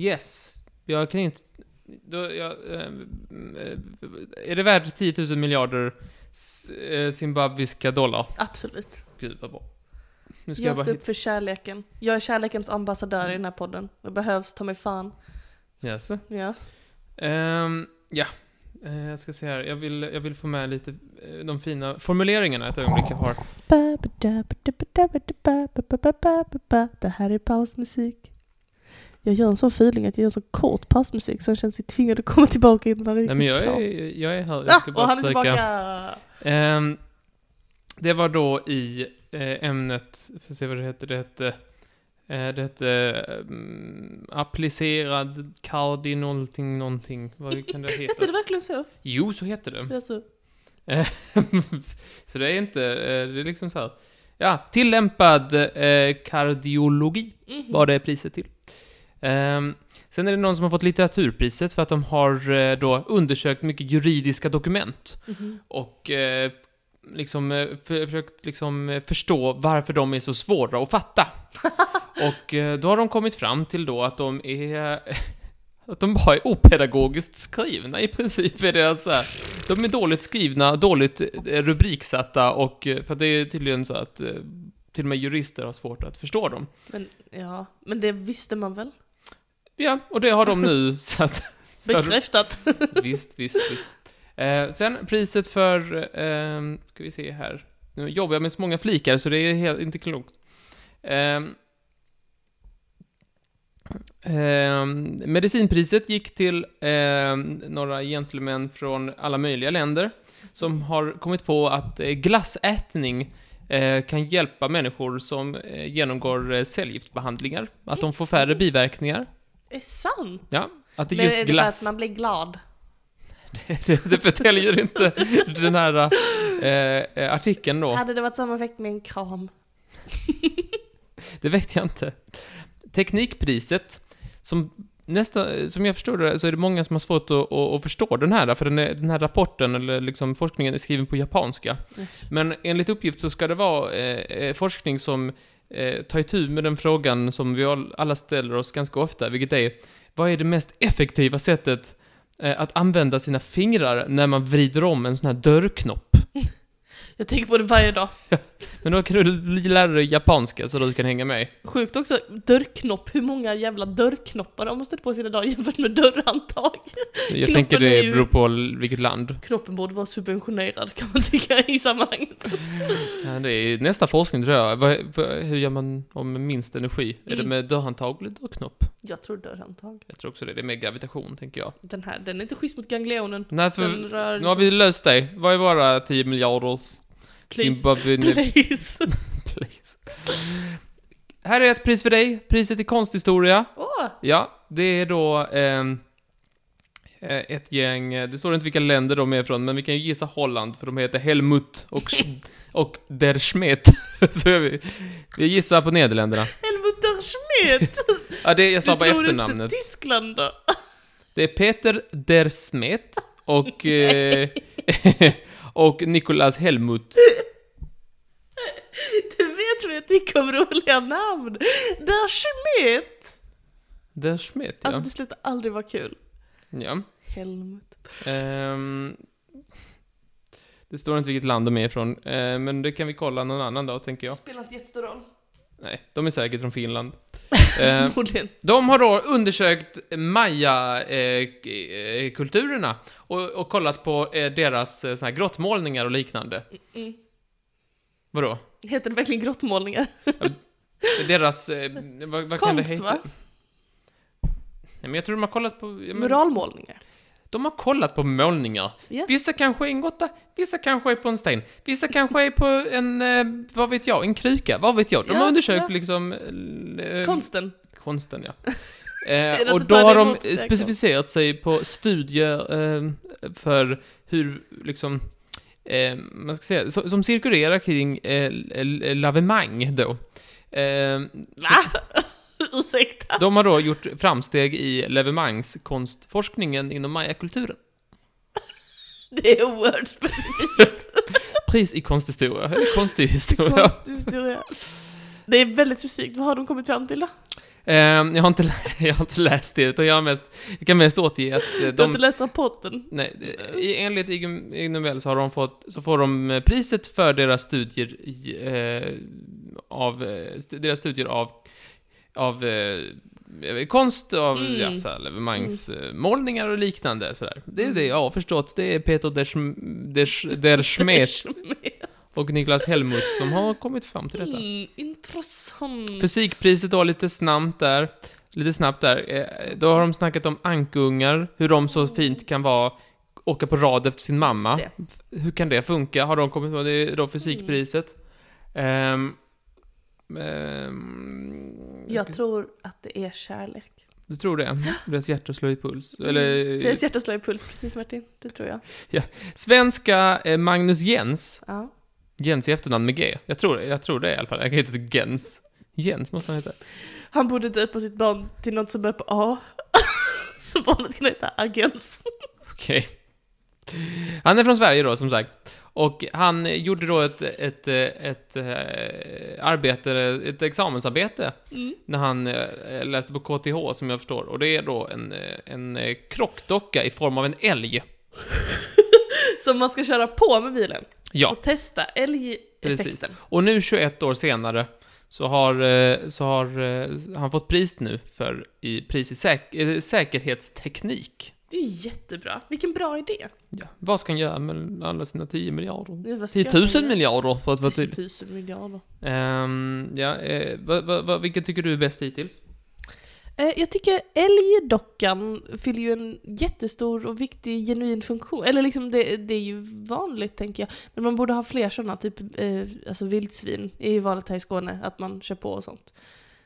Speaker 2: yes. Jag kan inte... Då, jag, ehm, eh, är det värt 10 000 miljarder s- eh, zimbabwiska dollar?
Speaker 1: Absolut.
Speaker 2: Gud vad bra. Nu ska
Speaker 1: Jag,
Speaker 2: jag, bara
Speaker 1: står
Speaker 2: hitta...
Speaker 1: upp för kärleken. Jag är kärlekens ambassadör i den här podden. Det behövs, ta mig fan.
Speaker 2: Yes.
Speaker 1: Ja.
Speaker 2: Ehm, ja. Eh, jag ska se här. Jag vill, jag vill få med lite eh, de fina formuleringarna ett ögonblick jag har.
Speaker 1: Det här är pausmusik. Jag gör en sån feeling att jag gör så kort pausmusik så jag känner sig tvingad att komma tillbaka innan han är
Speaker 2: Nej men jag
Speaker 1: riktigt klar.
Speaker 2: är, jag är här. Jag
Speaker 1: Ah,
Speaker 2: ska
Speaker 1: och
Speaker 2: bara
Speaker 1: han är
Speaker 2: försöka...
Speaker 1: tillbaka!
Speaker 2: Ehm, det var då i eh, ämnet, för se vad det hette, det hette, eh, det hette mm, applicerad kardi någonting någonting. Vad kan det
Speaker 1: Hette det
Speaker 2: heta?
Speaker 1: verkligen så?
Speaker 2: Jo, så heter det.
Speaker 1: Alltså,
Speaker 2: så det är inte, eh, det är liksom så här. Ja, tillämpad eh, kardiologi
Speaker 1: mhm.
Speaker 2: var det priset till. Ehm, sen är det någon som har fått litteraturpriset för att de har eh, då undersökt mycket juridiska dokument.
Speaker 1: Mhm.
Speaker 2: och eh, liksom eh, för, försökt liksom eh, förstå varför de är så svåra att fatta. och eh, då har de kommit fram till då att de är att de bara är opedagogiskt skrivna i princip. Är deras, så här. De är dåligt skrivna, dåligt eh, rubriksatta och eh, för att det är tydligen så att eh, till och med jurister har svårt att förstå dem.
Speaker 1: Men, ja. Men det visste man väl?
Speaker 2: Ja, och det har de nu så att
Speaker 1: Bekräftat.
Speaker 2: visst, visst, visst. Eh, sen priset för, ehm, ska vi se här. Nu jobbar jag med så många flikar så det är helt, inte klokt. Ehm, ehm, medicinpriset gick till ehm, några gentlemän från alla möjliga länder som har kommit på att eh, glassätning eh, kan hjälpa människor som eh, genomgår eh, cellgiftsbehandlingar, att de får färre biverkningar.
Speaker 1: är sant?
Speaker 2: Ja, att det
Speaker 1: Men
Speaker 2: är just
Speaker 1: är det
Speaker 2: glass.
Speaker 1: för att man blir glad?
Speaker 2: det, det förtäljer inte den här eh, eh, artikeln då.
Speaker 1: Hade det varit samma effekt med en kram?
Speaker 2: Det vet jag inte. Teknikpriset, som, nästa, som jag förstår det så är det många som har svårt att, att, att förstå den här, för den, är, den här rapporten eller liksom forskningen är skriven på japanska. Men enligt uppgift så ska det vara eh, eh, forskning som eh, tar itu med den frågan som vi all- alla ställer oss ganska ofta, vilket är vad är det mest effektiva sättet eh, att använda sina fingrar när man vrider om en sån här dörrknopp?
Speaker 1: Jag tänker på det varje dag.
Speaker 2: Men då kan du lära dig japanska så du kan hänga med.
Speaker 1: Sjukt också, dörrknopp, hur många jävla dörrknoppar har man stött på sina dagar jämfört med dörrhandtag?
Speaker 2: Jag
Speaker 1: Knoppen
Speaker 2: tänker
Speaker 1: är
Speaker 2: det
Speaker 1: ju-
Speaker 2: beror på l- vilket land.
Speaker 1: Knoppen borde vara subventionerad kan man tycka i sammanhanget.
Speaker 2: Ja, det är nästa forskning tror jag. Vad, vad, hur gör man om minst energi? Är det
Speaker 1: Mm.
Speaker 2: med dörrhandtag eller dörrknopp?
Speaker 1: Jag tror dörrhandtag.
Speaker 2: Jag tror också det. Det är med gravitation, tänker jag.
Speaker 1: Den här, den är inte schysst mot ganglionen.
Speaker 2: Nej, för
Speaker 1: Den rör...
Speaker 2: nu har vi löst det. Vad är våra 10 miljarder
Speaker 1: Please.
Speaker 2: Zimbabwe...
Speaker 1: Please.
Speaker 2: Please. Här är ett pris för dig. Priset i konsthistoria.
Speaker 1: Åh,
Speaker 2: Ja, det är då ehm, eh, ett gäng, eh, det står inte vilka länder de är från, men vi kan ju gissa Holland, för de heter Helmut och, och Der Schmidt. Så är vi, vi gissar på Nederländerna.
Speaker 1: Helmut der Schmidt!
Speaker 2: Ja, det, jag sa
Speaker 1: Du
Speaker 2: bara
Speaker 1: tror inte
Speaker 2: efternamnet.
Speaker 1: Tyskland då?
Speaker 2: Det är Peter Der Schmidt och, eh, och Nicolas Helmut.
Speaker 1: Du vet vad jag tycker om roliga namn? Der Schmidt!
Speaker 2: Der Schmidt, ja.
Speaker 1: Alltså det slutar aldrig vara kul.
Speaker 2: ja.
Speaker 1: Helmut.
Speaker 2: Ehm, det står inte vilket land de är ifrån, eh, men det kan vi kolla någon annan dag, tänker jag.
Speaker 1: Spelar inte jättestor roll.
Speaker 2: Nej, de är säkert från Finland. Eh,
Speaker 1: Förmodligen.
Speaker 2: de har då undersökt maya-kulturerna och, och kollat på eh, deras eh, såna här grottmålningar och liknande.
Speaker 1: Mm.
Speaker 2: Vadå?
Speaker 1: Heter det verkligen grottmålningar?
Speaker 2: Deras... Eh, vad, vad kan det
Speaker 1: Konst
Speaker 2: heta?
Speaker 1: va?
Speaker 2: Nej, men jag tror de har kollat på... ja, Men,
Speaker 1: Muralmålningar.
Speaker 2: de har kollat på målningar.
Speaker 1: Ja.
Speaker 2: Vissa kanske är en grotta, vissa kanske är på en sten, vissa kanske är på en, eh, vad vet jag, en kruka, vad vet jag. De
Speaker 1: Ja,
Speaker 2: har undersökt
Speaker 1: ja.
Speaker 2: liksom... eh,
Speaker 1: Konsten.
Speaker 2: Konsten, ja.
Speaker 1: det
Speaker 2: Eh,
Speaker 1: inte
Speaker 2: och då
Speaker 1: bara
Speaker 2: har
Speaker 1: det
Speaker 2: de
Speaker 1: emot sig,
Speaker 2: specificerat sig på studier eh, för hur, liksom, eh, man ska säga, som, som cirkulerar kring eh, l- l- lavemang då. Eh,
Speaker 1: Va? Ursäkta.
Speaker 2: de har då gjort framsteg i levemangskonstforskningen inom mayakulturen.
Speaker 1: Det är oerhört specifikt.
Speaker 2: Pris i konsthistoria, eller konsthistoria.
Speaker 1: Konsthistoria. Det är väldigt specifikt. Vad har de kommit fram till då?
Speaker 2: Ehm, jag, har inte, lä- jag har inte läst det, utan jag, har mest, jag kan mest återge att eh,
Speaker 1: Du har
Speaker 2: de...
Speaker 1: inte läst rapporten?
Speaker 2: Nej, eh, i- enligt Ig- Ig Nobel så, har de fått, så får de eh, priset för deras studier i, eh, av, eh, stu- deras studier av, av eh, eh, konst, av
Speaker 1: Mm.
Speaker 2: ja, så här, levemangs, eh, målningar och liknande. Sådär. Det är
Speaker 1: Mm.
Speaker 2: det jag har förstått. Det är Peter der, Schm- der, Sch- der Schmet och Niklas Helmut som har kommit fram till detta.
Speaker 1: Mm, intressant.
Speaker 2: Fysikpriset då, lite snabbt där. Lite snabbt där. Eh, Då har de snackat om ankungar, hur de så fint kan vara, åka på rad efter sin mamma.
Speaker 1: Just
Speaker 2: Hur kan det funka? Har de kommit på det? är då fysikpriset. Ehm, ehm,
Speaker 1: Mm. Jag tror att det är kärlek.
Speaker 2: Du tror det? Deras hjärta slår i puls. Eller,
Speaker 1: Mm. Det är hjärta slår i puls, precis Martin. Det tror jag.
Speaker 2: Svenska eh, Magnus Jens.
Speaker 1: Ja.
Speaker 2: Jens i efternamn med G. Jag tror, jag tror det i alla fall. Jag kan heta Gens. Jens måste han heta.
Speaker 1: Han borde döpa sitt barn till något som börjar på A. Så barnet kan heta Agens.
Speaker 2: Okej. Han är från Sverige då, som sagt. Och han eh, gjorde då ett, ett, eh, ett, eh, arbete, ett examensarbete
Speaker 1: Mm.
Speaker 2: när han eh, läste på KTH, som jag förstår. Och det är då en, eh, en eh, krockdocka i form av en älg.
Speaker 1: Som man ska köra på med bilen.
Speaker 2: Ja,
Speaker 1: Och testa älgeffekten.
Speaker 2: och nu 21 år senare så har, eh, så har eh, han fått pris nu för i, pris i säk, eh, säkerhetsteknik.
Speaker 1: Det är ju jättebra. Vilken bra idé.
Speaker 2: Ja. Vad ska han göra med alla sina 10 miljarder?
Speaker 1: Nu, vad ska
Speaker 2: 10
Speaker 1: jag
Speaker 2: 000
Speaker 1: göra?
Speaker 2: miljarder för att vara tydlig.
Speaker 1: 10 000 miljarder.
Speaker 2: Ehm, ja, eh, vad- vad- vad- vilken tycker du är bäst hittills?
Speaker 1: Eh, Jag tycker älgdockan fyller ju en jättestor och viktig genuin funktion. Eller liksom det, det är ju vanligt tänker jag. Men man borde ha fler sådana, typ eh, alltså vildsvin är ju vanligt här i Skåne, att man kör på och sånt.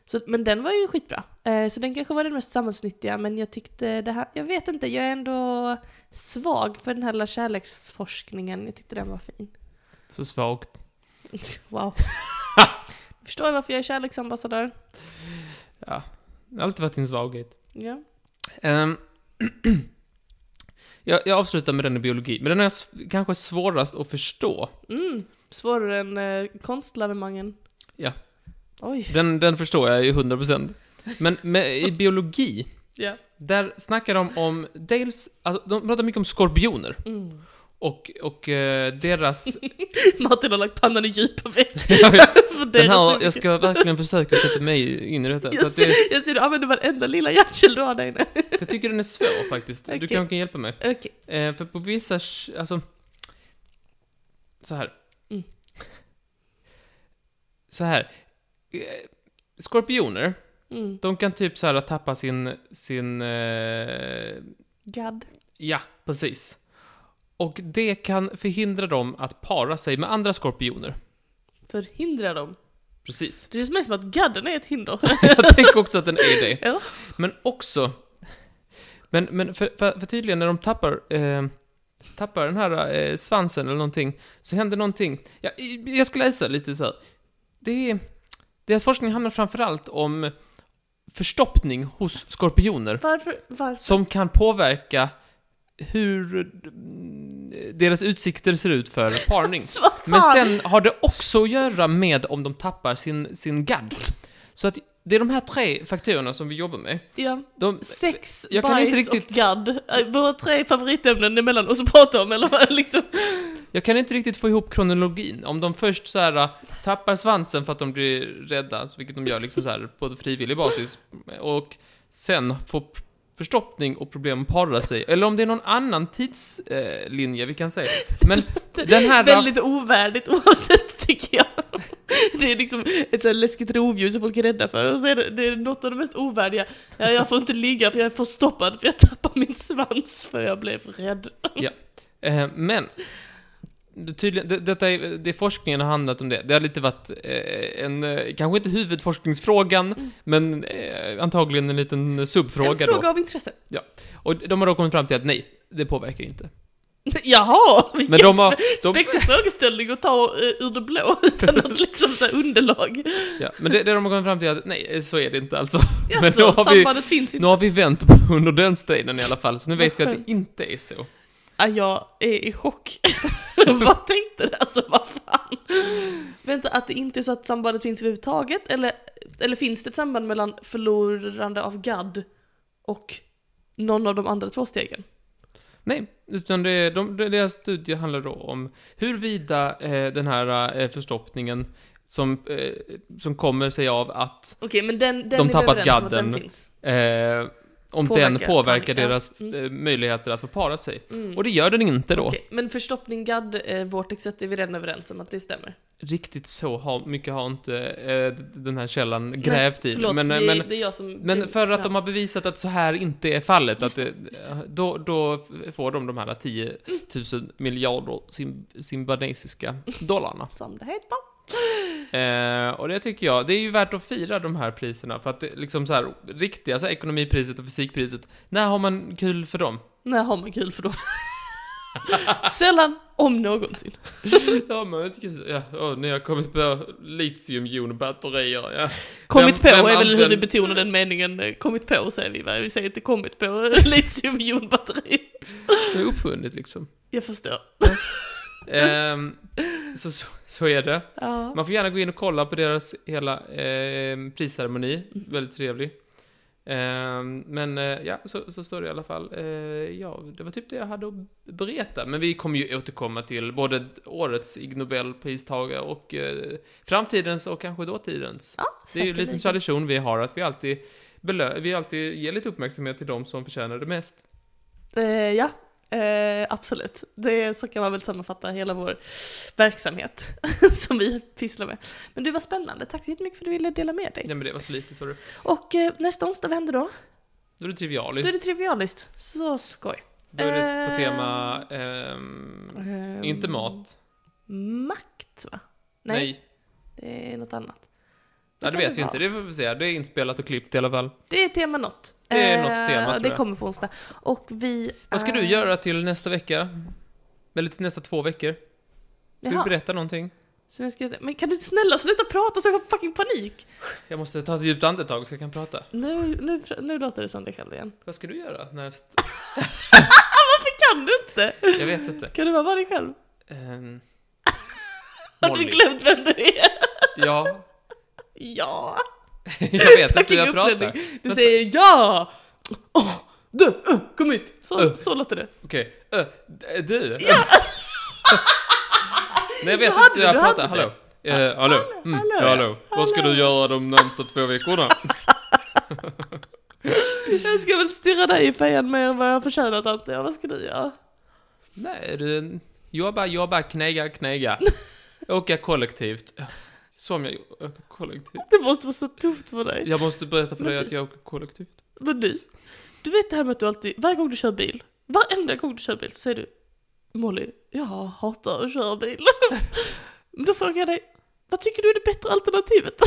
Speaker 1: Så, men den var ju skitbra. Eh, så den kanske var den mest samhällsnyttiga, men jag tyckte det här, jag vet inte, jag är ändå svag för den här lilla kärleksforskningen. Jag tyckte den var fin.
Speaker 2: Så svagt.
Speaker 1: Wow. Förstår jag varför jag är kärleksambassadör?
Speaker 2: Ja, det har alltid varit din svaghet.
Speaker 1: Ja.
Speaker 2: Ehm, jag, jag avslutar med den i biologi, men den är s- kanske svårast att förstå.
Speaker 1: Mm, svårare än eh, konstlavemangen.
Speaker 2: Ja.
Speaker 1: Oj.
Speaker 2: Den, den förstår jag ju 100%. Men med, i biologi,
Speaker 1: Ja.
Speaker 2: där snackar de om dels, alltså, de pratar mycket om skorpioner.
Speaker 1: Mm.
Speaker 2: Och, och eh, deras...
Speaker 1: Martin har lagt pannan i djupa veck. för
Speaker 2: den här,
Speaker 1: deras-
Speaker 2: jag ska verkligen försöka sätta mig in i detta. För
Speaker 1: jag
Speaker 2: att det,
Speaker 1: ser, jag ser du använder varenda lilla hjärtkärl du har där inne.
Speaker 2: jag tycker den är svår faktiskt. Du
Speaker 1: Okej.
Speaker 2: kanske kan hjälpa mig.
Speaker 1: Okej.
Speaker 2: Eh, för på vissa, sh- alltså... Så här.
Speaker 1: Mm.
Speaker 2: Så här. Eh, Skorpioner,
Speaker 1: Mm.
Speaker 2: de kan typ så här tappa sin, sin, eh,
Speaker 1: Gadd.
Speaker 2: ja, precis. Och det kan förhindra dem att para sig med andra skorpioner.
Speaker 1: Förhindra dem.
Speaker 2: Precis.
Speaker 1: Det känns mer som att gadden är ett hinder.
Speaker 2: Jag tänker också att den är det.
Speaker 1: Ja.
Speaker 2: Men också... Men, men för, för, för tydligen när de tappar, eh, tappar den här eh, svansen eller någonting, så händer någonting. Ja, i- jag ska läsa lite så här. Det är, deras forskning handlar framförallt om förstoppning hos skorpioner,
Speaker 1: Varför? Varför?
Speaker 2: som kan påverka hur eh, deras utsikter ser ut för parning.
Speaker 1: Så vad
Speaker 2: Men
Speaker 1: fan?
Speaker 2: sen har det också att göra med om de tappar sin, sin gadd. Så att det är de här tre faktorerna som vi jobbar med.
Speaker 1: Ja.
Speaker 2: De,
Speaker 1: Sex,
Speaker 2: Jag kan
Speaker 1: bajs
Speaker 2: inte riktigt-
Speaker 1: och gadd. Eh, Våra tre favoritämnen emellan oss att prata om, eller vad liksom.
Speaker 2: jag kan inte riktigt få ihop kronologin. Om de först så här äh, tappar svansen för att de blir rädda, så vilket de gör liksom så här på frivillig basis, och sen får p- förstoppning och problem att para sig. Eller om det är någon annan tidslinje eh, linje vi kan säga. Men den här... äh,
Speaker 1: Väldigt ovärdigt oavsett tycker jag. Det är liksom ett så här läskigt rovdjur som folk är rädda för. Och så är det, det är något av det mest ovärdiga. Ja, jag får inte ligga för jag är förstoppad för jag tappar min svans för jag blev rädd.
Speaker 2: Eh, men, det tydligen, det, detta är, det forskningen har handlat om det. Det har lite varit eh, en, eh, kanske inte huvudforskningsfrågan, men eh, antagligen en liten Mm. subfråga
Speaker 1: en
Speaker 2: då.
Speaker 1: fråga av intresse.
Speaker 2: Och de har då kommit fram till att nej, det påverkar inte.
Speaker 1: Jaha! Vilken
Speaker 2: Men de har... De,
Speaker 1: spexig frågeställning att ta eh, ur det blå utan något liksom så här underlag.
Speaker 2: ja, men det, det de har kommit fram till är att nej, så är det inte alltså. Men
Speaker 1: Jaså,
Speaker 2: då har vi,
Speaker 1: sambandet finns
Speaker 2: nu
Speaker 1: inte.
Speaker 2: har vi vänt på under den stenen i alla fall, så nu
Speaker 1: Vad
Speaker 2: vet vi att
Speaker 1: skönt.
Speaker 2: det inte är så.
Speaker 1: Ah, jag är i chock. vad tänkte du? Alltså vad fan? Vänta, att det inte är så att sambandet finns överhuvudtaget? Eller, eller finns det ett samband mellan förlorande av gadd och någon av de andra två stegen?
Speaker 2: Nej, utan det, de, de, deras studie handlar då om huruvida eh, den här eh, förstoppningen som, eh, som kommer sig av att,
Speaker 1: Okej, men den, den
Speaker 2: De
Speaker 1: är
Speaker 2: tappat
Speaker 1: vi överens om att
Speaker 2: gadden.
Speaker 1: Den finns.
Speaker 2: eh, om den
Speaker 1: Påverkar
Speaker 2: påverkar
Speaker 1: parning, ja.
Speaker 2: deras
Speaker 1: Mm.
Speaker 2: eh, möjligheter att få para sig.
Speaker 1: Mm.
Speaker 2: Och det gör den inte då.
Speaker 1: Okej, men förstoppning, gadd, eh, vortexet är vi redan överens om att det stämmer.
Speaker 2: Riktigt så har, mycket har inte eh, d- den här källan grävt
Speaker 1: Nej,
Speaker 2: i.
Speaker 1: förlåt,
Speaker 2: Men,
Speaker 1: det,
Speaker 2: eh, men,
Speaker 1: det är jag som...
Speaker 2: men för att de har bevisat att så här inte är fallet,
Speaker 1: Just
Speaker 2: att det, eh, Då, då får de de här 10 000 miljarder sim, simbanesiska
Speaker 1: Mm.
Speaker 2: dollarna.
Speaker 1: Som det heter.
Speaker 2: Eh, och det tycker jag, det är ju värt att fira de här priserna för att det, liksom så här, riktiga så här, ekonomipriset och fysikpriset, när har man kul för dem?
Speaker 1: När har man kul för då? Sällan, om någonsin.
Speaker 2: ja, men inte kul, ja, åh, när jag kommit på litiumjonbatterier, ja.
Speaker 1: Kommit
Speaker 2: Vem-
Speaker 1: på
Speaker 2: vem
Speaker 1: är väl hur vi
Speaker 2: använder-
Speaker 1: betonar den meningen. eh, Kommit på säger vi va? Vi säger inte kommit på litiumjonbatteri.
Speaker 2: Det är uppfunnet liksom.
Speaker 1: Jag förstår.
Speaker 2: Ehm, så, så, så är det.
Speaker 1: Ja.
Speaker 2: Man får gärna gå in och kolla på deras hela eh, prisceremoni, väldigt trevlig. Ehm, men eh, ja, så, så står det i alla fall. Eh, ja, det var typ det jag hade att berätta. Men vi kommer ju återkomma till både årets Ig Nobelpristagare och eh, framtidens och kanske dåtidens.
Speaker 1: Ja,
Speaker 2: det är ju en liten
Speaker 1: säkerligen.
Speaker 2: tradition vi har att vi alltid, belö- vi alltid ger lite uppmärksamhet till de som förtjänar det mest.
Speaker 1: Eh, ja, eh, absolut. Det, så kan man väl sammanfatta hela vår verksamhet som vi pysslar med. Men du, var spännande. Tack så jättemycket för att du ville dela med dig.
Speaker 2: Nej men det var så lite, så du.
Speaker 1: Och eh, nästa onsdag, vad händer då?
Speaker 2: Då är det
Speaker 1: Då är
Speaker 2: trivialiskt.
Speaker 1: det trivialist. Så skoj.
Speaker 2: Då är det på
Speaker 1: Ehm.
Speaker 2: tema, ehm,
Speaker 1: Ehm,
Speaker 2: inte mat.
Speaker 1: Makt, va? Nej,
Speaker 2: Nej.
Speaker 1: det är något annat.
Speaker 2: Ja, det
Speaker 1: kan
Speaker 2: vet vi
Speaker 1: vara.
Speaker 2: inte. Det får vi se. Det är inspelat och klippt i alla fall.
Speaker 1: Det är tema något.
Speaker 2: Det är
Speaker 1: Eh,
Speaker 2: något tema, tror
Speaker 1: Det
Speaker 2: jag.
Speaker 1: kommer på onsdag. Och vi...
Speaker 2: Vad ska
Speaker 1: är-
Speaker 2: du göra till nästa vecka? Eller till nästa två veckor? Ska du
Speaker 1: Jaha,
Speaker 2: berätta någonting?
Speaker 1: så jag ska... Men kan du snälla sluta prata så jag får fucking panik?
Speaker 2: Jag måste ta ett djupt andetag så jag kan prata.
Speaker 1: Nu, nu, nu låter det som dig själv igen.
Speaker 2: Vad ska du göra? Näst...
Speaker 1: Varför kan du inte?
Speaker 2: Jag vet inte.
Speaker 1: Kan du bara vara dig själv?
Speaker 2: Ehm,
Speaker 1: Har du
Speaker 2: Molly.
Speaker 1: glömt vem du är?
Speaker 2: Ja,
Speaker 1: Ja!
Speaker 2: jag vet inte hur
Speaker 1: Fucking
Speaker 2: jag pratar.
Speaker 1: uppläggning. Du säger ja! Åh,
Speaker 2: Du!
Speaker 1: Uh, kom hit! Så,
Speaker 2: Uh.
Speaker 1: så låter det.
Speaker 2: Okej. Ö, d- du!
Speaker 1: Ja!
Speaker 2: Nej, jag vet
Speaker 1: Du hade
Speaker 2: inte hur jag
Speaker 1: det, du
Speaker 2: pratar.
Speaker 1: hade
Speaker 2: Hallå? Eh, hallå? Mm,
Speaker 1: hallå,
Speaker 2: ja,
Speaker 1: ja.
Speaker 2: hallå. Vad ska du
Speaker 1: Hallå.
Speaker 2: göra de närmsta två veckorna?
Speaker 1: Jag ska väl stirra dig i fejan mer än vad jag förtjänat antar jag. Vad ska du göra?
Speaker 2: Nej, du. Jobba, jobba, knäga, knäga. Åka kollektivt. Som jag åker kollektivt.
Speaker 1: Det måste vara så tufft för dig.
Speaker 2: Jag måste berätta för
Speaker 1: Men
Speaker 2: dig
Speaker 1: du-
Speaker 2: att jag åker kollektivt.
Speaker 1: Men du, du vet det här med att du alltid, varje gång du kör bil, varenda gång du kör bil så säger du Molly, jag hatar att köra bil. Men då frågar jag dig, vad tycker du är det bättre alternativet?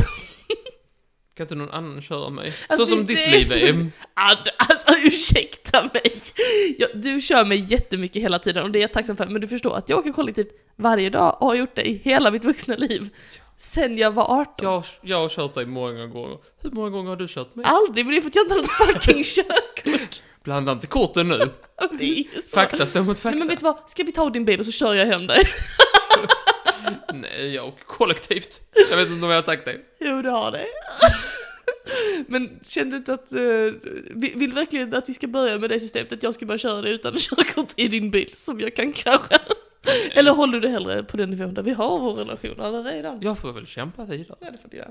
Speaker 2: Kan inte någon annan köra mig?
Speaker 1: Alltså,
Speaker 2: så som
Speaker 1: det-
Speaker 2: ditt
Speaker 1: det
Speaker 2: liv
Speaker 1: är
Speaker 2: är. Mm,
Speaker 1: så- Ah, d- Alltså ursäkta mig! Jag, du kör mig jättemycket hela tiden och det är jag tacksam för, men du förstår att jag åker kollektivt varje dag och har gjort det i hela mitt vuxna liv. Sen jag var 18.
Speaker 2: Jag, har- jag har kört dig många gånger. Hur många gånger har du kört mig?
Speaker 1: Aldrig, men det är för att jag inte har något fucking körkort.
Speaker 2: Blanda inte korten nu.
Speaker 1: Det är så.
Speaker 2: Fakta står mot
Speaker 1: Nej,
Speaker 2: fakta.
Speaker 1: men vet du vad, ska vi ta din bil och så kör jag hem dig?
Speaker 2: Nej, jag åker kollektivt. Jag vet inte om jag har sagt det.
Speaker 1: Jo, det har det. Men känner du inte att, eh, vi- vill du verkligen att vi ska börja med det systemet, att jag ska bara köra dig utan körkort i din bil som jag kan köra? Eller håller du hellre på den nivån där vi har vår relation alla redan?
Speaker 2: Jag får väl kämpa vidare.
Speaker 1: Ja, det får du göra.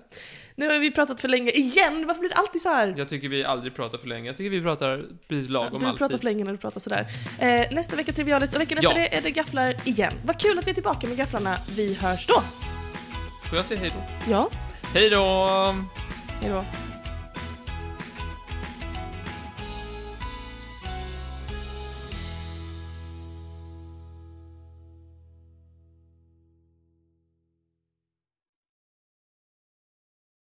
Speaker 1: Nu har vi pratat för länge igen, varför blir det alltid så här?
Speaker 2: Jag tycker vi aldrig pratar för länge. Jag tycker vi pratar precis lagom
Speaker 1: Du pratar
Speaker 2: alltid.
Speaker 1: för länge när du pratar sådär. Eh, nästa vecka Trivialist och veckan
Speaker 2: Ja.
Speaker 1: efter det är det gafflar igen. Vad kul att vi är tillbaka med gafflarna. Vi hörs då!
Speaker 2: Får jag säga hej då?
Speaker 1: Ja,
Speaker 2: Hej då!
Speaker 1: hejdå.